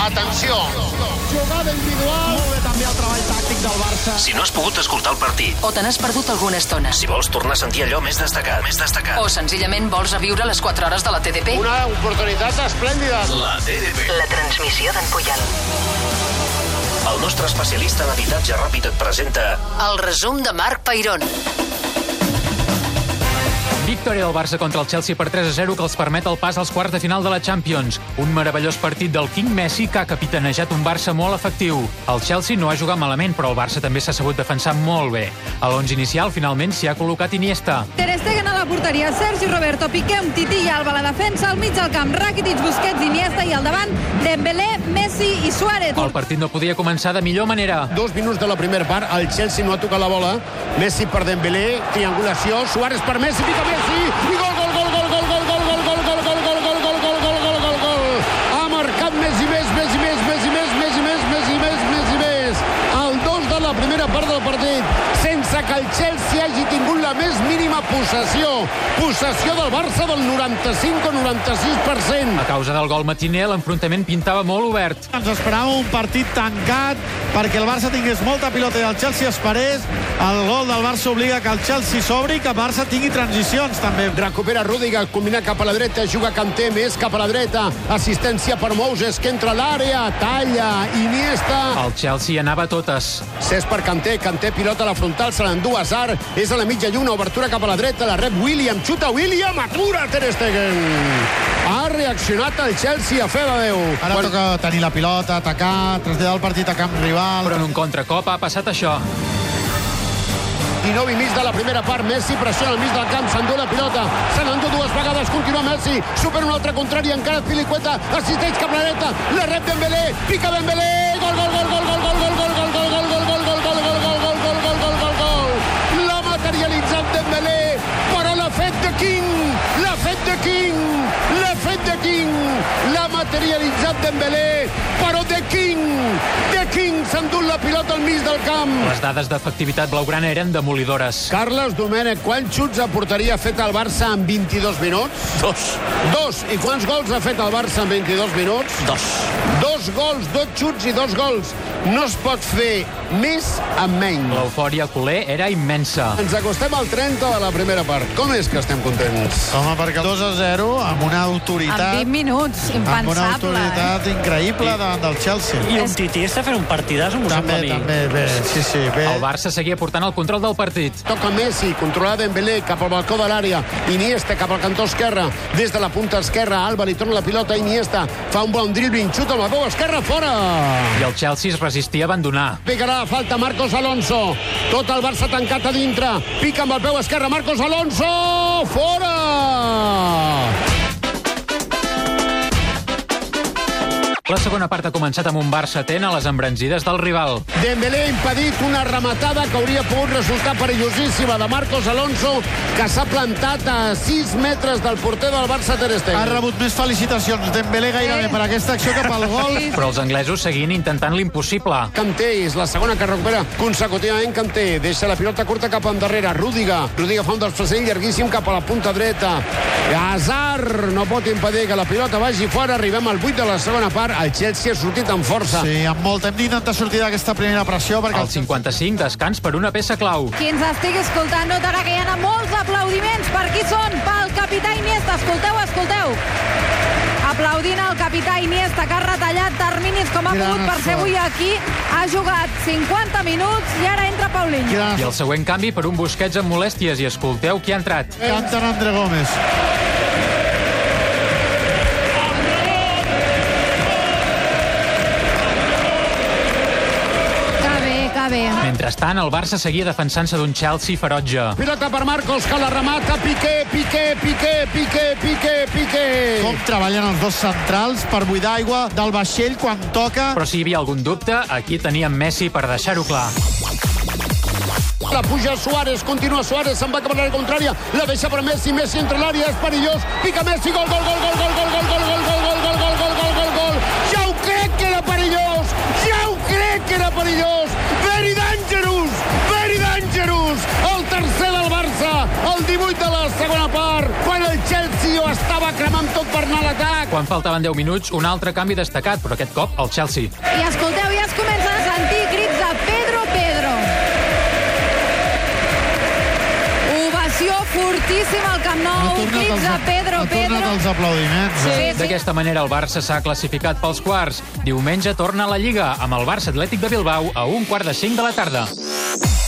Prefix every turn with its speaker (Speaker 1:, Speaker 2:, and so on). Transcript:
Speaker 1: Atenció!
Speaker 2: Jugada individual.
Speaker 3: Molt bé també el treball tàctic del Barça.
Speaker 4: Si no has pogut escoltar el partit,
Speaker 5: o te n'has perdut alguna estona,
Speaker 4: si vols tornar a sentir allò més destacat, més destacat,
Speaker 5: o senzillament vols reviure les 4 hores de la TDP,
Speaker 1: Una oportunitat esplèndida.
Speaker 4: la TDP.
Speaker 5: la transmissió d'en Puyol,
Speaker 4: El nostre especialista en habitatge ràpid et presenta
Speaker 5: el resum de Marc Peirón.
Speaker 6: Victòria del Barça contra el Chelsea per 3 a 0 que els permet el pas als quarts de final de la Champions. Un meravellós partit del King Messi que ha capitanejat un Barça molt efectiu. El Chelsea no ha jugat malament, però el Barça també s'ha sabut defensar molt bé. A l'11 inicial, finalment, s'hi ha col·locat Iniesta.
Speaker 7: Ter Stegen a la porteria, Sergi Roberto, Piqué, un tití i Alba a la defensa, al mig del camp, Rakitic, Busquets, Iniesta i al davant, Dembélé, Messi i Suárez.
Speaker 6: El partit no podia començar de millor manera.
Speaker 2: Dos minuts de la primera part, el Chelsea no ha tocat la bola. Messi per Dembélé, triangulació, Suárez per Messi, pica Messi, i gol, gol, gol, gol, gol, gol, gol, gol, gol, gol, gol, gol, gol, gol, gol, gol, gol, gol. Ha marcat Messi més, Messi més, Messi més, Messi més, Messi més, Messi més. El 2 de la primera part del partit, sense que el Chelsea hagi tingut la més mínima possessió. Possessió del Barça del 95 o 96%.
Speaker 6: A causa del gol matiner, l'enfrontament pintava molt obert.
Speaker 3: Ens esperava un partit tancat perquè el Barça tingués molta pilota i el Chelsea esperés. El gol del Barça obliga que el Chelsea s'obri i que el Barça tingui transicions també.
Speaker 2: Recupera Rúdiga, combina cap a la dreta, juga Canté, més cap a la dreta, assistència per Moses, que entra a l'àrea, talla, Iniesta,
Speaker 6: El Chelsea anava a totes.
Speaker 2: Cesc per Canté, Canté pilota a la frontal, se l'endú a Sar, és a la mitja lluna, obertura cap a la dreta, la rep William, xuta William, atura Ter Stegen. Ha reaccionat el Chelsea a fer de Déu.
Speaker 3: Ara
Speaker 2: Quan-
Speaker 3: toca tenir la pilota, atacar, traslladar el partit a camp rival.
Speaker 6: Però en un contracop ha passat això.
Speaker 2: 19 i mig de la primera part, Messi pressiona al mig del camp, s'endú la pilota, se n'endú dues vegades, continua Messi, supera un altre contrari, encara Filicueta, assisteix cap a la dreta, la rep Dembélé, pica Dembélé, gol, gol, gol, gol, gol, gol, gol, gol, gol, gol, gol, gol, gol, gol, gol, gol, gol, gol, gol, gol, gol, l'ha materialitzat Dembélé, però l'ha fet de King, l'ha fet de King, l'ha fet de King, l'ha materialitzat Dembélé, però de King, de King s'endú la pilota al mig del camp.
Speaker 6: Les dades d'efectivitat blaugrana eren demolidores.
Speaker 2: Carles Domènech, quants xuts a porteria ha fet el Barça en 22 minuts?
Speaker 8: Dos.
Speaker 2: Dos. I quants gols ha fet el Barça en 22 minuts?
Speaker 8: Dos.
Speaker 2: Dos gols, dos xuts i dos gols. No es pot fer més amb menys.
Speaker 6: L'eufòria culer era immensa.
Speaker 2: Ens acostem al 30 de la primera part. Com és que estem contents?
Speaker 3: Home, perquè el 2 a 0 amb una
Speaker 7: En
Speaker 3: autoritat
Speaker 7: 20 minuts,
Speaker 3: amb una
Speaker 7: impensable. eh?
Speaker 3: autoritat increïble davant del Chelsea.
Speaker 8: I un Titi està fent un partidàs, m'ho sembla
Speaker 3: També,
Speaker 8: a mi.
Speaker 3: també, bé, sí, sí, bé.
Speaker 6: El Barça seguia portant el control del partit.
Speaker 2: Toca Messi, controla Dembélé cap al balcó de l'àrea. Iniesta cap al cantó esquerre. Des de la punta esquerra, Alba li torna la pilota a Iniesta. Fa un bon dribbling, xuta amb la cova esquerra, fora!
Speaker 6: I el Chelsea es resistia a abandonar.
Speaker 2: Picarà la falta Marcos Alonso. Tot el Barça tancat a dintre. Pica amb el peu esquerre Marcos Alonso. Fora!
Speaker 6: La segona part ha començat amb un Barça atent a les embranzides del rival.
Speaker 2: Dembélé ha impedit una rematada que hauria pogut resultar perillosíssima de Marcos Alonso, que s'ha plantat a 6 metres del porter del Barça Ter
Speaker 3: Ha
Speaker 2: Stegen.
Speaker 3: rebut més felicitacions Dembélé gairebé per aquesta acció que pel gol.
Speaker 6: Però els anglesos seguien intentant l'impossible.
Speaker 2: Kanté és la segona que recupera consecutivament Kanté. Deixa la pilota curta cap endarrere. Rúdiga. Rúdiga fa un desplaçament llarguíssim cap a la punta dreta. Hazard no pot impedir que la pilota vagi fora. Arribem al 8 de la segona part. El Chelsea ha sortit amb força.
Speaker 3: Sí, amb molt. Hem d'intentar sortir d'aquesta primera pressió perquè
Speaker 6: Al 55, descans per una peça clau.
Speaker 7: Qui ens estigui escoltant notarà que hi ha molts aplaudiments. Per qui són? Pel capità Iniesta. Escolteu, escolteu. Aplaudint el capità Iniesta, que ha retallat terminis com ha
Speaker 3: Gran
Speaker 7: pogut per ser
Speaker 3: esforç.
Speaker 7: avui aquí. Ha jugat 50 minuts i ara entra Paulinho.
Speaker 3: Quina...
Speaker 6: I el següent canvi per un busquets amb molèsties i escolteu qui ha entrat.
Speaker 3: Canten André Gómez.
Speaker 7: Que bé, que bé.
Speaker 6: Mentrestant, el Barça seguia defensant-se d'un Chelsea ferotge.
Speaker 2: Pilota per Marcos, que la remata. Piqué, Piqué, Piqué, Piqué, Piqué, Piqué.
Speaker 3: Com treballen els dos centrals per buidar aigua del vaixell quan toca.
Speaker 6: Però si hi havia algun dubte, aquí teníem Messi per deixar-ho clar.
Speaker 2: La puja Suárez, continua Suárez, se'n va cap a l'àrea contrària, la deixa per Messi, Messi entra a l'àrea, és perillós, pica Messi, gol, gol, gol, gol, gol, gol, gol, gol, gol, gol, gol, gol, gol, gol, gol, gol, ja ho crec que era perillós, ja ho crec que era perillós, very dangerous, very dangerous, el tercer del Barça, el 18 de la segona part, quan el Chelsea ho estava cremant tot per anar a l'atac,
Speaker 6: Quan faltaven 10 minuts, un altre canvi destacat, però aquest cop al Chelsea.
Speaker 7: I escolteu, ja es comencen a sentir crits de Pedro, Pedro. Ovació fortíssima al Camp Nou, crits de Pedro,
Speaker 3: ha tornat
Speaker 7: Pedro.
Speaker 3: els aplaudiments. eh?
Speaker 7: Sí, sí.
Speaker 6: D'aquesta manera, el Barça s'ha classificat pels quarts. Diumenge torna a la Lliga, amb el Barça Atlètic de Bilbao a un quart de cinc de la tarda.